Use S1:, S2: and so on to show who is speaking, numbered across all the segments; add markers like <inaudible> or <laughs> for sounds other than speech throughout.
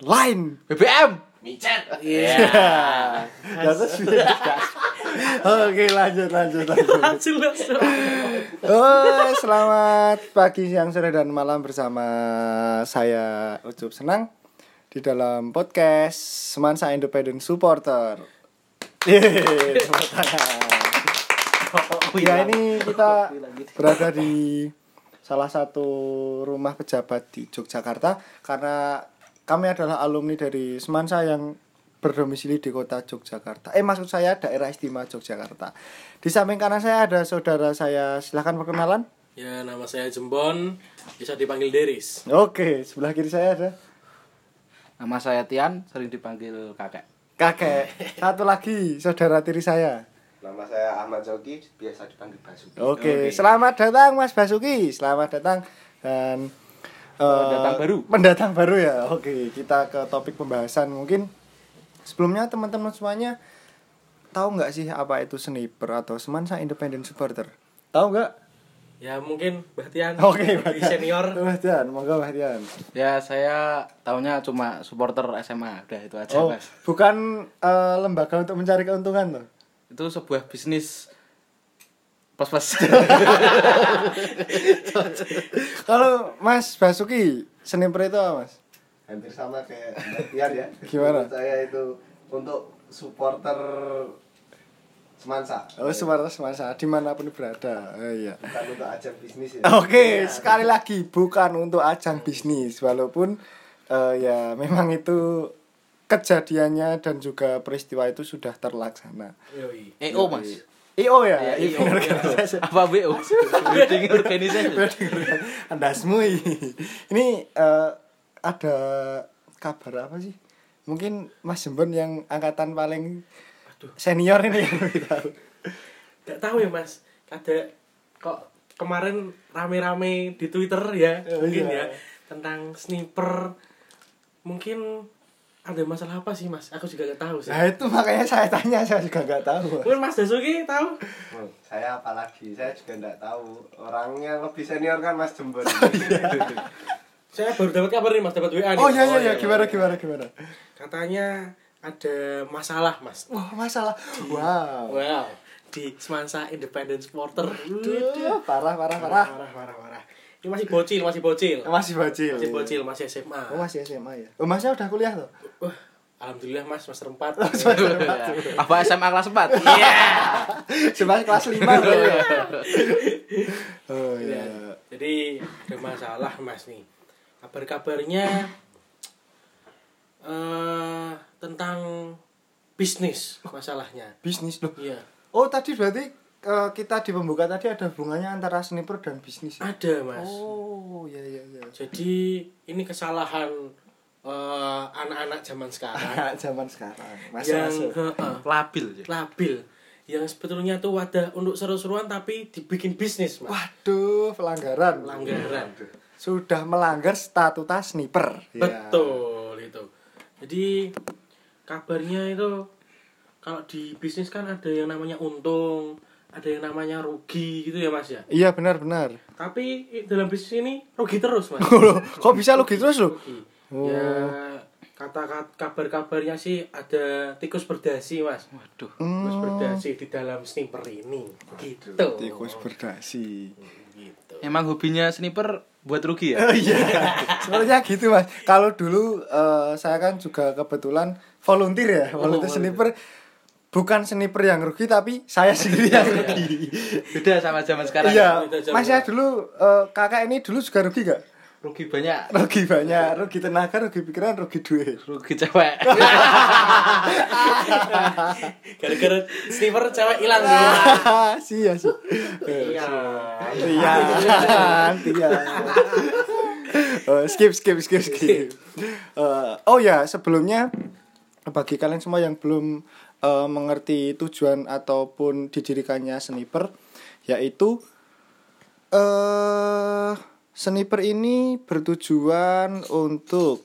S1: Line.
S2: BBM
S3: micet
S1: Iya. Data sudah dikasih. Oke, lanjut lanjut lanjut.
S4: jelas
S1: Oh, selamat pagi, siang, sore dan malam bersama saya Ucup Senang di dalam podcast Semansa Independent Supporter. Yeay, tepuk tangan. Ya ini kita berada di salah satu rumah pejabat di Yogyakarta karena kami adalah alumni dari Semansa yang berdomisili di kota Yogyakarta. Eh maksud saya daerah istimewa Yogyakarta. Di samping kanan saya ada saudara saya. Silahkan perkenalan.
S4: ya nama saya Jembon bisa dipanggil Deris
S1: Oke, sebelah kiri saya ada
S2: Nama saya Tian, sering dipanggil kakek.
S1: kakek. Satu lagi saudara tiri saya.
S3: nama saya Ahmad Zoki biasa dipanggil Basuki
S1: Oke, selamat datang Mas Basuki. Selamat datang dan eh,
S2: Pendatang baru.
S1: Pendatang baru ya. Oke, kita ke topik pembahasan mungkin. Sebelumnya teman-teman semuanya tahu nggak sih apa itu sniper atau semansa independent supporter? Tahu nggak?
S4: ya mungkin Bahtian
S1: <laughs> Oke,
S4: dari senior
S1: Bahtian, monggo Bahtian.
S2: Ya saya tahunya cuma supporter SMA, udah itu aja
S1: Oh,
S2: mas.
S1: bukan eh, lembaga untuk mencari keuntungan tuh.
S2: Itu sebuah bisnis plus plus. <laughs>
S1: Kalau Mas Basuki, sniper itu apa, Mas?
S3: hampir sama kayak Mbak Tiar ya
S1: <laughs> Gimana?
S3: Menurut saya itu untuk supporter semansa
S1: Oh, semansa semansa dimanapun berada. Oh, iya.
S3: bukan untuk ajang bisnis ya
S1: Oke, sekali lagi bukan untuk ajang bisnis walaupun eh, ya memang itu kejadiannya dan juga peristiwa itu sudah terlaksana.
S4: Yoi.
S2: EO E mas.
S1: IO ya,
S2: Iya,
S1: Iya, bener kan?
S2: Apa <laughs> BO? Building <laughs> Organization.
S1: Andasmu ini. Ini eh, ada kabar apa sih? Mungkin Mas Jembon yang angkatan paling senior ini yang lebih tahu.
S4: nggak tahu ya mas ada kok kemarin rame-rame di Twitter ya
S1: Oh,
S4: mungkin
S1: iya.
S4: ya tentang sniper mungkin ada masalah apa sih mas aku juga nggak tahu sih
S1: Nah itu makanya saya tanya saya juga nggak tahu.
S4: mungkin Mas Dasuki tahu
S3: Hmm, saya apalagi saya juga nggak tahu orangnya lebih senior kan Mas
S1: <laughs>
S3: Jembon
S4: saya baru dapat kabar nih mas dapat WA nih
S1: Oh iya iya iya gimana gimana gimana.
S4: katanya ada masalah mas
S1: Wah masalah. Wow.
S4: wow di Semansa Independent Supporter
S1: Duh, parah parah parah.
S4: parah parah parah parah Iya, ini masih bocil masih bocil
S1: Masih bocil.
S4: masih bocil masih SMA
S1: Oh, masih SMA ya. Oh, masnya udah kuliah <laughs> loh.
S4: Wah, alhamdulillah mas Oh, mas empat
S2: Apa SMA kelas 4?
S1: Cuma kelas 5 loh. <laughs> Oh iya.
S4: Iya. jadi ada masalah mas nih kabar kabarnya eh tentang bisnis masalahnya
S1: Bisnis loh.
S4: iya
S1: Oh, tadi berarti eh, kita di pembuka tadi ada hubungannya antara sniper dan bisnis. ya?
S4: ada mas
S1: Oh, iya iya iya.
S4: jadi ini kesalahan eh, anak-anak zaman <laughs> sekarang
S1: Anak Nah, zaman sekarang. Masuk
S4: yang
S1: masuk.
S4: heeh,
S2: Labil.
S4: labil yang sebetulnya tuh wadah untuk seru-seruan tapi dibikin bisnis mas
S1: Waduh, pelanggaran.
S4: pelanggaran
S1: Sudah melanggar statuta sniper. Iya.
S4: betul itu jadi kabarnya itu kalau di bisnis kan ada yang namanya untung ada yang namanya rugi gitu ya mas ya
S1: Iya benar benar. <laughs>
S4: tapi i- dalam bisnis ini rugi terus mas
S1: Loh, Kok bisa lo gitu terus lo?
S4: rugi
S1: Oh.
S4: ya kata kabar-kabarnya sih ada tikus berdasi mas
S2: Waduh.
S4: tikus berdasi di dalam sniper ini gitu
S1: Hmm. Tikus berdasi.
S4: gitu
S2: Emang hobinya sniper buat rugi ya? <laughs>
S1: Oh iya, <laughs> sebenarnya gitu mas. Kalau dulu eh, saya kan juga kebetulan volunteer ya, volunteer sniper. Bukan sniper yang rugi tapi saya sendiri yang rugi.
S2: Beda sama zaman sekarang.
S1: Iya,
S4: itu aja,
S1: mas ya dulu eh, kakak ini dulu juga rugi gak?
S2: Rugi banyak.
S1: Rugi banyak, rugi tenaga, rugi pikiran, rugi duit.
S2: Rugi cewek. <laughs>
S4: gara-gara sniper cewek hilang sih
S1: Ah. <laughs> sih ya sih.
S4: iya
S1: Iya, iya. Eh, skip, skip, skip, skip. Eh, oh ya, sebelumnya bagi kalian semua yang belum eh, mengerti tujuan ataupun didirikannya sniper, yaitu eh sniper ini bertujuan untuk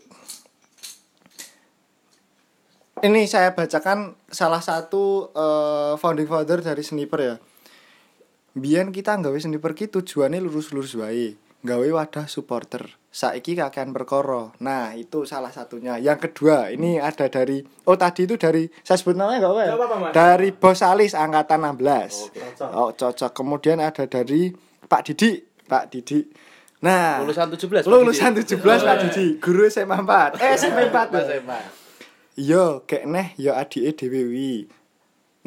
S1: ini saya bacakan salah satu eh, founding founder dari sniper ya. Biyen kita nggawe sniper ki tujuane lurus-lurus wae. gawe wadah supporter saiki kakean perkoro nah itu salah satunya yang kedua ini ada dari oh tadi itu dari saya sebut namanya nggak apa-apa ya?
S4: Nggak apa-apa, Mas.
S1: dari Bos Alis angkatan 16
S4: Cocok.
S1: oh cocok kemudian ada dari Pak Didi Pak Didi nah
S2: Lulusan 17, Pak
S1: lulusan 17
S4: Oh,
S2: Didi.
S4: iya.
S1: Pak Didi guru SMA 4 eh SMP
S4: <laughs>
S1: 4
S2: SMA.
S1: Yo, kek neh yo adike dhewe wi.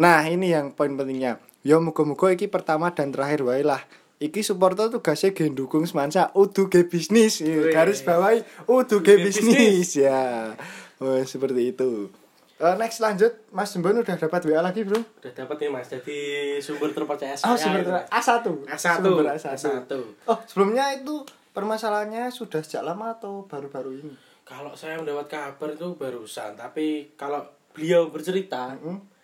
S1: Nah, ini yang poin pentingnya. Yo muga-muga iki pertama dan terakhir wae lah. Iki supporter tugasnya gen dukung semansa udu ge bisnis. Iya, Garis bawahi udu ge bisnis ya. Oh, seperti itu. Eh, next lanjut, Mas Jembon udah dapat WA lagi, Bro.
S4: Udah dapat nih Mas, jadi sumber terpercaya saya.
S1: Oh, sumber
S4: gitu.
S1: A1.
S4: A1.
S1: Sumber A1.
S4: A1.
S1: Oh, sebelumnya itu permasalahannya sudah sejak lama atau baru-baru ini?
S4: Kalau saya mendapat kabar itu barusan, tapi kalau beliau bercerita,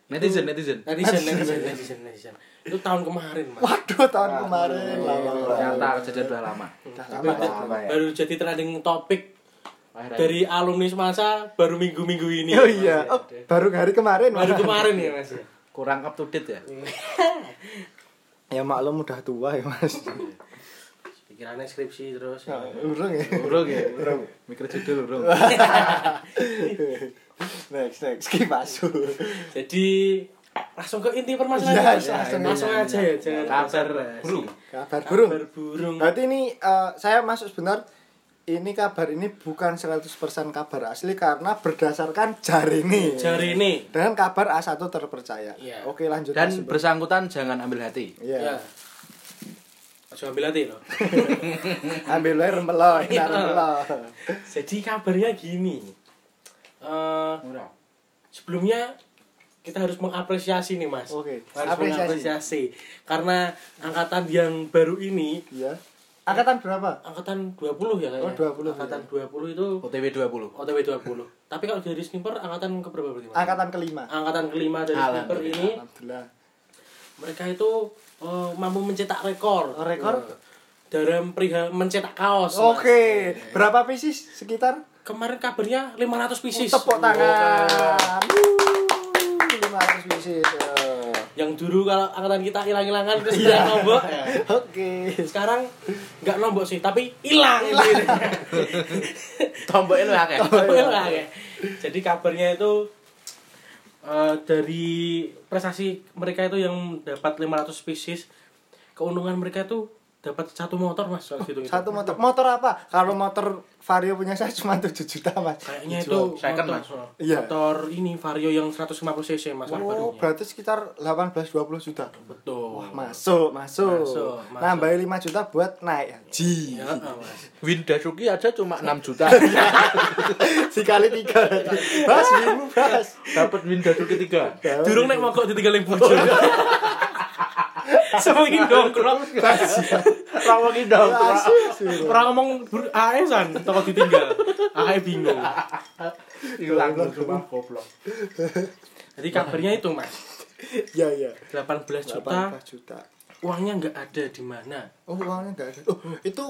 S2: Netizen, netizen.
S4: netizen, netizen, netizen, netizen. Itu tahun kemarin, Mas.
S1: Waduh, tahun kemarin lama banget.
S2: Ternyata kejadian udah lama.
S1: Udah
S4: Tapi
S1: lama.
S4: itu baru jadi trending topik
S2: Akhir-akhir.
S4: dari alumni semasa baru minggu-minggu ini. ya.
S1: Oh iya, oh, baru hari kemarin.
S4: Baru
S1: Mas.
S4: kemarin ya, Mas.
S2: kurang up to date ya.
S1: Ya maklum udah tua ya
S4: <laughs>
S1: mas.
S4: Pikirannya skripsi terus.
S1: Urung ya.
S2: Bro, ya, bro. Mikir judul, <laughs> bro.
S1: next next skip
S4: <laughs>
S1: masuk.
S4: Jadi langsung ke inti
S1: Iya,
S4: permasalahan. Mas.
S1: iya,
S4: langsung,
S1: iya, iya,
S4: aja ya, jangan
S2: Kabar
S4: basa-basi.
S2: burung.
S1: Kabar burung.
S4: Kabar burung.
S1: Berarti ini eh, saya masuk sebentar. Ini kabar ini bukan 100% kabar asli karena berdasarkan jaringan.
S4: Jari ini.
S1: Dengan kabar A1 terpercaya.
S4: Iya.
S1: Oke lanjut.
S2: Dan
S1: Mas.
S2: bersangkutan jangan ambil hati.
S1: Iya.
S4: Ya. Coba ambil hati loh.
S1: Ambil air meloy,
S4: Iya.
S1: taruh meloy.
S4: Jadi kabarnya gini. Eh, sebelumnya kita harus mengapresiasi nih mas.
S1: Oke.
S4: Harus
S1: Apresiasi.
S4: mengapresiasi karena angkatan yang baru ini
S1: Iya. Angkatan berapa?
S4: angkatan 20 ya
S1: Oh,
S4: kayaknya.
S1: 20,
S4: angkatan 20 itu
S2: OTW 20.
S4: OTW 20. Tapi kalau dari sniper angkatan ke berapa berarti mas?
S1: Angkatan kelima.
S4: angkatan kelima dari sniper
S2: Alhamdulillah.
S4: ini
S1: Alhamdulillah.
S4: mereka itu eh, mampu mencetak rekor.
S1: Oh, rekor?
S4: Eh, dalam perihal mencetak kaos. Mas.
S1: Oke. Berapa pieces sekitar?
S4: Kemarin kabarnya 500 pieces.
S1: Oh, Tepuk tangan. Wuh, 500 pieces. Eh.
S4: yang dulu kalau angkatan kita hilang-hilangan terus
S2: Iya.
S4: kita nombok
S1: Oke.
S4: sekarang nggak nombok sih tapi hilang Gitu.
S1: <laughs>
S2: Tomboknya lu akeh.
S1: Oh,
S4: Tapi
S1: iya.
S4: hilang ya. jadi kabarnya itu eh, dari prestasi mereka itu yang dapat 500 spesies keuntungan mereka itu dapat satu motor mas kalau gitu
S1: Satu motor. Motor apa? Kalau motor Vario punya saya cuma 7 juta, Mas.
S4: kayaknya itu
S1: Dijual.
S2: Second,
S4: motor,
S2: Mas.
S1: Iya.
S4: motor ini vario yang 150 cc mas
S1: Oh,
S4: barunya
S1: berarti sekitar 18 20 juta.
S4: betul
S1: Wah, masuk, masuk.
S4: Masuk, masuk.
S1: Nambahin 5 juta buat naik haji.
S4: Ya, eh, mas.
S2: Win Dasuki aja cuma 6 <laughs> juta.
S1: <laughs> Dikali 3.
S4: <laughs>
S1: Bas, bingung, Bas.
S2: Dapat Win Dasuki <laughs> 3.
S4: Durung nek mokok
S1: <laughs>
S4: ditinggal yang <laughs> bojo. Semakin dongkrong.
S2: Rawa ki dong.
S1: Bas. Iya.
S4: Ora ngomong bur- ae san toko ditinggal. Ae bingung.
S2: Hilang cuma goblok.
S4: Jadi kabarnya itu, Mas.
S1: Ya, ya.
S4: 18 juta
S1: 18 juta.
S4: uangnya nggak ada di mana.
S1: Oh, uangnya enggak ada. Oh, itu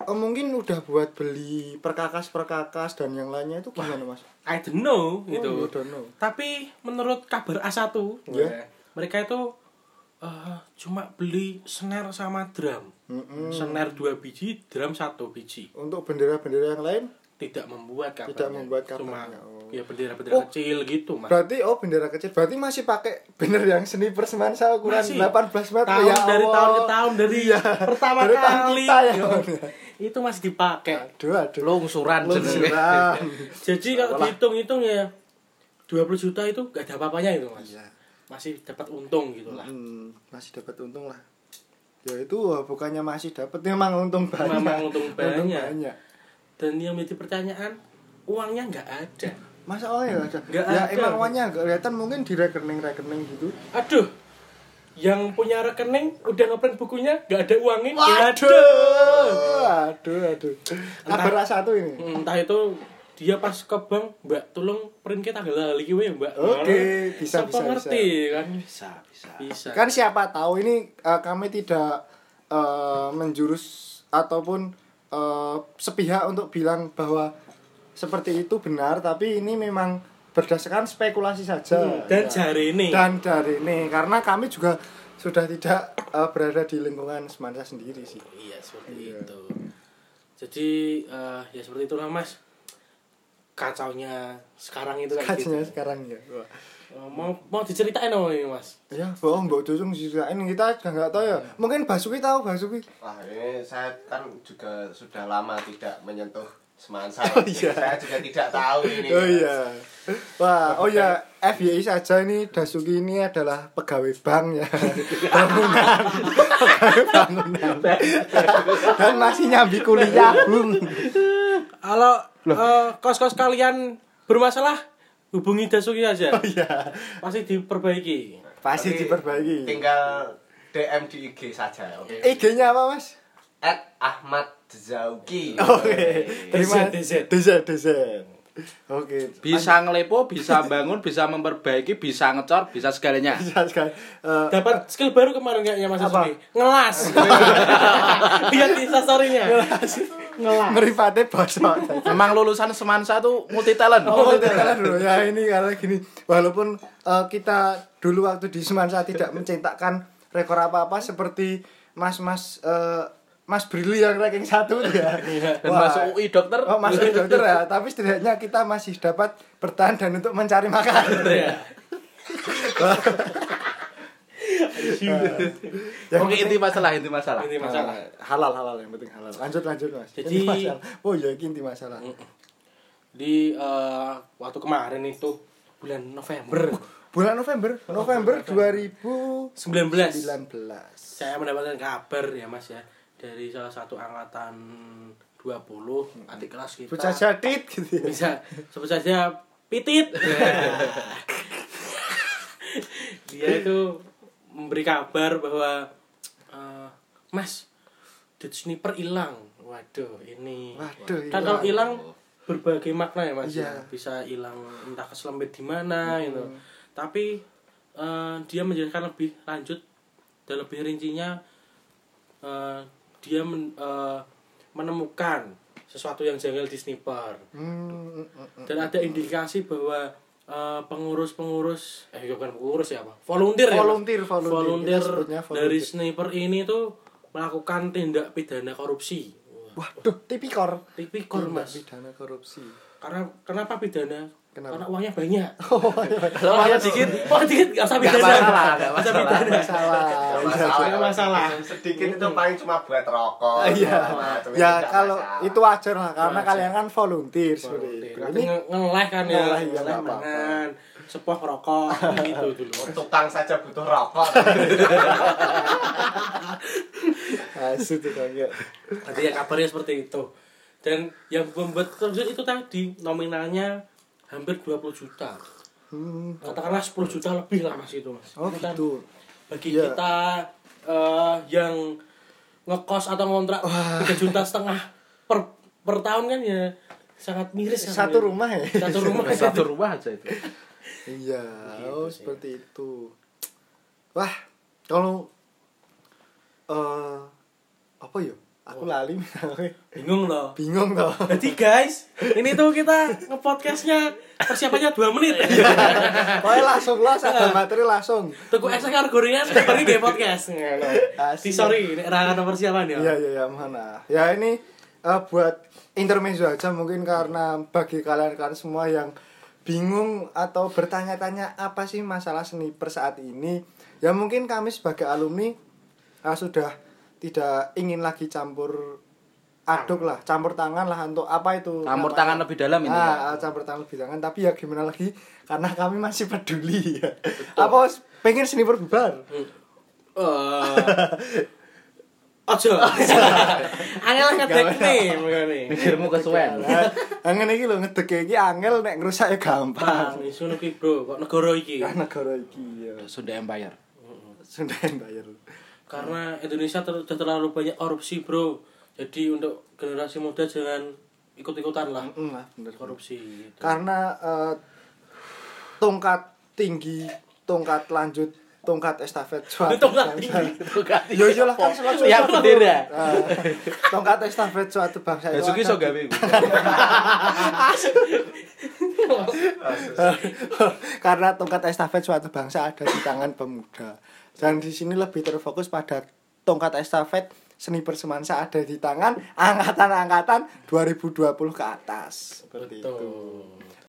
S1: eh, mungkin udah buat beli perkakas-perkakas dan yang lainnya itu gimana, Mas?
S4: I don't know gitu.
S1: Oh, you don't know.
S4: Tapi menurut kabar A1,
S1: Iya.
S4: mereka itu eh, cuma beli snare sama drum. Snare 2 biji, drum 1 biji.
S1: Untuk bendera-bendera yang lain?
S4: Tidak membuat kabarnya.
S1: Tidak membuat
S4: Cuma
S1: kabarnya, oh.
S4: ya bendera-bendera
S1: Oh.
S4: kecil gitu, Mas.
S1: Berarti oh bendera kecil. Berarti masih pakai bener yang seni persemansa ukuran
S4: Masih.
S1: 18 meter
S4: Tahun
S1: ya.
S4: dari
S1: Allah.
S4: tahun ke tahun dari
S1: Iya.
S4: pertama
S1: Dari tahun
S4: kali.
S1: kita ya.
S4: Yo. itu masih dipakai.
S1: Aduh aduh.
S2: Lungsuran
S4: <laughs>
S2: jenenge.
S1: Lungsuran.
S4: Jadi
S1: Nah,
S4: kalau dihitung-hitung ya 20 juta itu gak ada apa-apanya itu, Mas.
S1: Iya.
S4: Masih dapat untung gitu lah.
S1: Hmm, masih dapat untung lah. Ya itu wah, bukannya masih dapat memang untung banyak.
S4: Memang untung banyak.
S1: banyak.
S4: Dan yang menjadi pertanyaan, uangnya nggak ada.
S1: Masa oh ya ada.
S4: Nggak
S1: ya
S4: ada.
S1: emang uangnya nggak kelihatan mungkin di rekening-rekening gitu.
S4: Aduh. Yang punya rekening udah ngeprint bukunya nggak ada uangnya.
S1: Aduh, aduh, aduh. Kabar satu ini.
S4: Entah itu dia pas ke bank, Mbak, tolong print kita tanggal lagi we, Mbak.
S1: Oke, bisa,
S4: Siapa
S1: bisa,
S4: ngerti kan?
S2: Bisa, bisa.
S4: Bisa.
S1: kan siapa tahu ini eh, kami tidak eh, menjurus ataupun eh, sepihak untuk bilang bahwa seperti itu benar tapi ini memang berdasarkan spekulasi saja
S4: Hmm, dan
S1: Ya.
S4: jari ini
S1: dan dari ini karena kami juga sudah tidak eh, berada di lingkungan Semansa sendiri sih.
S4: Iya seperti itu. Jadi eh, ya seperti itulah mas. Kacaunya sekarang itu kayak gitu.
S1: Kajinya sekarang ya. Wah.
S4: Eh, Mau mau diceritain apa ini mas?
S1: Ya, bohong Mbok Cucung diceritain kita juga nggak tahu ya. Mungkin Basuki tahu Basuki.
S3: Wah ini saya kan juga sudah lama tidak menyentuh semansa.
S1: Oh, iya.
S3: Saya juga tidak tahu ini. ya.
S1: Oh iya. Wah, oh ya, FYI saja ini Dasuki ini adalah pegawai bank ya. Bangunan. Pegawai bangunan. Dan masih nyambi kuliah belum.
S4: Kalau eh, kos-kos kalian bermasalah, hubungi Dasuki aja.
S1: Iya.
S4: Pasti diperbaiki.
S1: Pasti
S3: Tapi
S1: diperbaiki.
S3: Tinggal DM di IG saja. Oke.
S1: IG-nya apa, Mas?
S3: At Ahmad
S1: <laughs>
S3: Zauki.
S1: Oh, Oke. Terima
S4: DZ.
S1: DZ DZ. Oke.
S2: Bisa ngelepo, bisa bangun, bisa memperbaiki, bisa ngecor, bisa segalanya.
S1: Bisa sekali. Eh,
S4: Dapat skill baru kemarin kayaknya Mas
S1: Apa?
S4: Dasuki. <laughs> Ngelas. Lihat instastorynya. Ngelas. Ngelas.
S1: meripate bosok.
S2: Memang lulusan Semansa tuh multi talent.
S1: Oh, tetelan dulu. ya ini karena gini walaupun eh, kita dulu waktu di Semansa tidak mencetakkan rekor apa-apa seperti mas-mas eh, Mas Brili yang ranking satu tuh ya.
S2: Dan
S1: Wah.
S2: masuk UI dokter.
S1: Oh, masuk dokter ya, tapi setidaknya kita masih dapat bertahan dan untuk mencari makan. <laughs>
S2: Oke, inti masalah, inti masalah.
S4: Ini masalah.
S1: halal halal yang penting halal. Lanjut lanjut Mas.
S4: Jadi-
S1: Ini masalah. Oh ya ini inti masalah.
S4: Di eh, waktu kemarin itu bulan November
S1: Uh, Bulan November, November 2019.
S4: 19 saya mendapatkan kabar ya Mas ya dari salah satu angkatan 20 adik kelas kita.
S1: Bocah jadit gitu ya.
S4: bisa sebut saja pitit dia itu memberi kabar bahwa eh, mas dude sniper hilang waduh ini
S1: Waduh.
S4: kan kalau
S1: iya.
S4: hilang berbagai makna ya mas
S1: Iya. Hmm.
S4: ya. bisa hilang entah keselembet di mana gitu tapi eh, dia menjelaskan lebih lanjut dan lebih rincinya eh, dia men- eh, menemukan sesuatu yang janggal di sniper
S1: Hmm, hmm, hmm.
S4: dan ada indikasi bahwa eh, pengurus-pengurus eh bukan pengurus ya apa volunteer ya, Mas?
S1: Volunteer, volunteer.
S4: Volunteer
S1: Kita sebutnya volunteer.
S4: dari sniper ini tuh melakukan tindak pidana korupsi Wah,
S1: Waduh, tipikor.
S4: tipikor
S1: Tindak
S4: mas
S1: pidana korupsi.
S4: karena kenapa pidana
S1: Kenapa? Oh, iya. <laughs>
S4: karena uangnya banyak
S2: Kalau hanya dikit,
S4: uang dikit nggak usah
S2: nggak
S4: pidana
S2: masalah, nggak masalah.
S1: Salah.
S4: Nggak masalah
S3: Sedikit itu paling cuma buat rokok.
S1: Iya.
S3: macam-macam, Oh, itu
S1: Ya
S3: nggak
S1: kalau
S3: masalah.
S1: itu wajar lah karena
S4: Wajar.
S1: kalian kan volunteer seperti itu.
S4: Berarti
S1: Ini
S4: nge- ngeleh kan ya
S1: Ngeleh, iya, nggak apa-apa.
S4: menengan, sepoh
S1: <laughs>
S4: rokok gitu dulu
S3: tukang saja butuh rokok.
S1: asyik tuh Kang, ya.
S4: Nanti ya kabarnya seperti itu dan yang membuat terkejut itu tadi nominalnya hampir 20 juta
S1: Hmm.
S4: katakanlah 10 juta lebih lah mas itu mas
S1: Oh
S4: Itu kan
S1: gitu.
S4: bagi
S1: Iya.
S4: kita eh, yang ngekos atau ngontrak 3 juta setengah per per tahun kan ya sangat miris kan,
S1: Satu
S4: ya.
S1: rumah ya.
S4: satu rumah
S2: Satu rumah aja itu.
S1: <laughs> Iya. Oh seperti itu. Wah kalau eh apa ya? Aku lali
S4: bingung loh
S1: bingung toh. <laughs>
S4: jadi guys ini tuh kita ngepodcastnya persiapannya 2
S1: <laughs>
S4: menit
S1: Pokoknya langsung las ada materi langsung.
S4: Tuku es karo gorengan sebenarnya game podcast. Di
S1: Asik.
S4: sorry, ini rangan nomor siapa nih?
S1: Iya iya iya mana? Ya ini eh, buat intermezzo aja mungkin karena bagi kalian kan semua yang bingung atau bertanya-tanya apa sih masalah seni per saat ini? Ya mungkin kami sebagai alumni eh, sudah tidak ingin lagi campur aduk lah, campur tangan lah untuk apa itu?
S2: Campur
S1: namanya?
S2: tangan lebih dalam ini.
S1: Ah,
S2: ya.
S1: ah, campur tangan lebih tangan tapi ya gimana lagi karena kami masih peduli ya. Apa pengen seni berbubar?
S4: Oh.
S1: <laughs>
S4: Ojo. Angel ngetik nih, mengene.
S2: Mikirmu kesuwen.
S1: Eh, Angin iki lho ngedeke iki angel nek ngrusak ya gampang.
S4: Bang, isu nuki bro, kok negara iki?
S1: Kan negara iki ya
S2: Sunda Empire.
S1: Sunda Empire.
S4: Karena Indonesia ter- sudah terlalu banyak korupsi bro. Jadi untuk generasi muda jangan ikut-ikutan lah
S1: Mm, lah, bener.
S4: korupsi. gitu.
S1: Karena eh, tongkat tinggi, tongkat lanjut, tongkat estafet suatu
S4: Tongkat
S1: bangsa.
S4: tinggi.
S2: Bukan.
S1: Yo yo lah kan selalu
S2: Yang bendera.
S1: Eh, tongkat estafet suatu bangsa itu
S2: Basuki
S1: akan-
S2: so gawe. Bu.
S1: <laughs> Karena tongkat estafet suatu bangsa ada di tangan pemuda. Dan di sini lebih terfokus pada tongkat estafet seni persemansa ada di tangan angkatan-angkatan 2020 ke atas. Gitu. Seperti itu.
S4: Betul.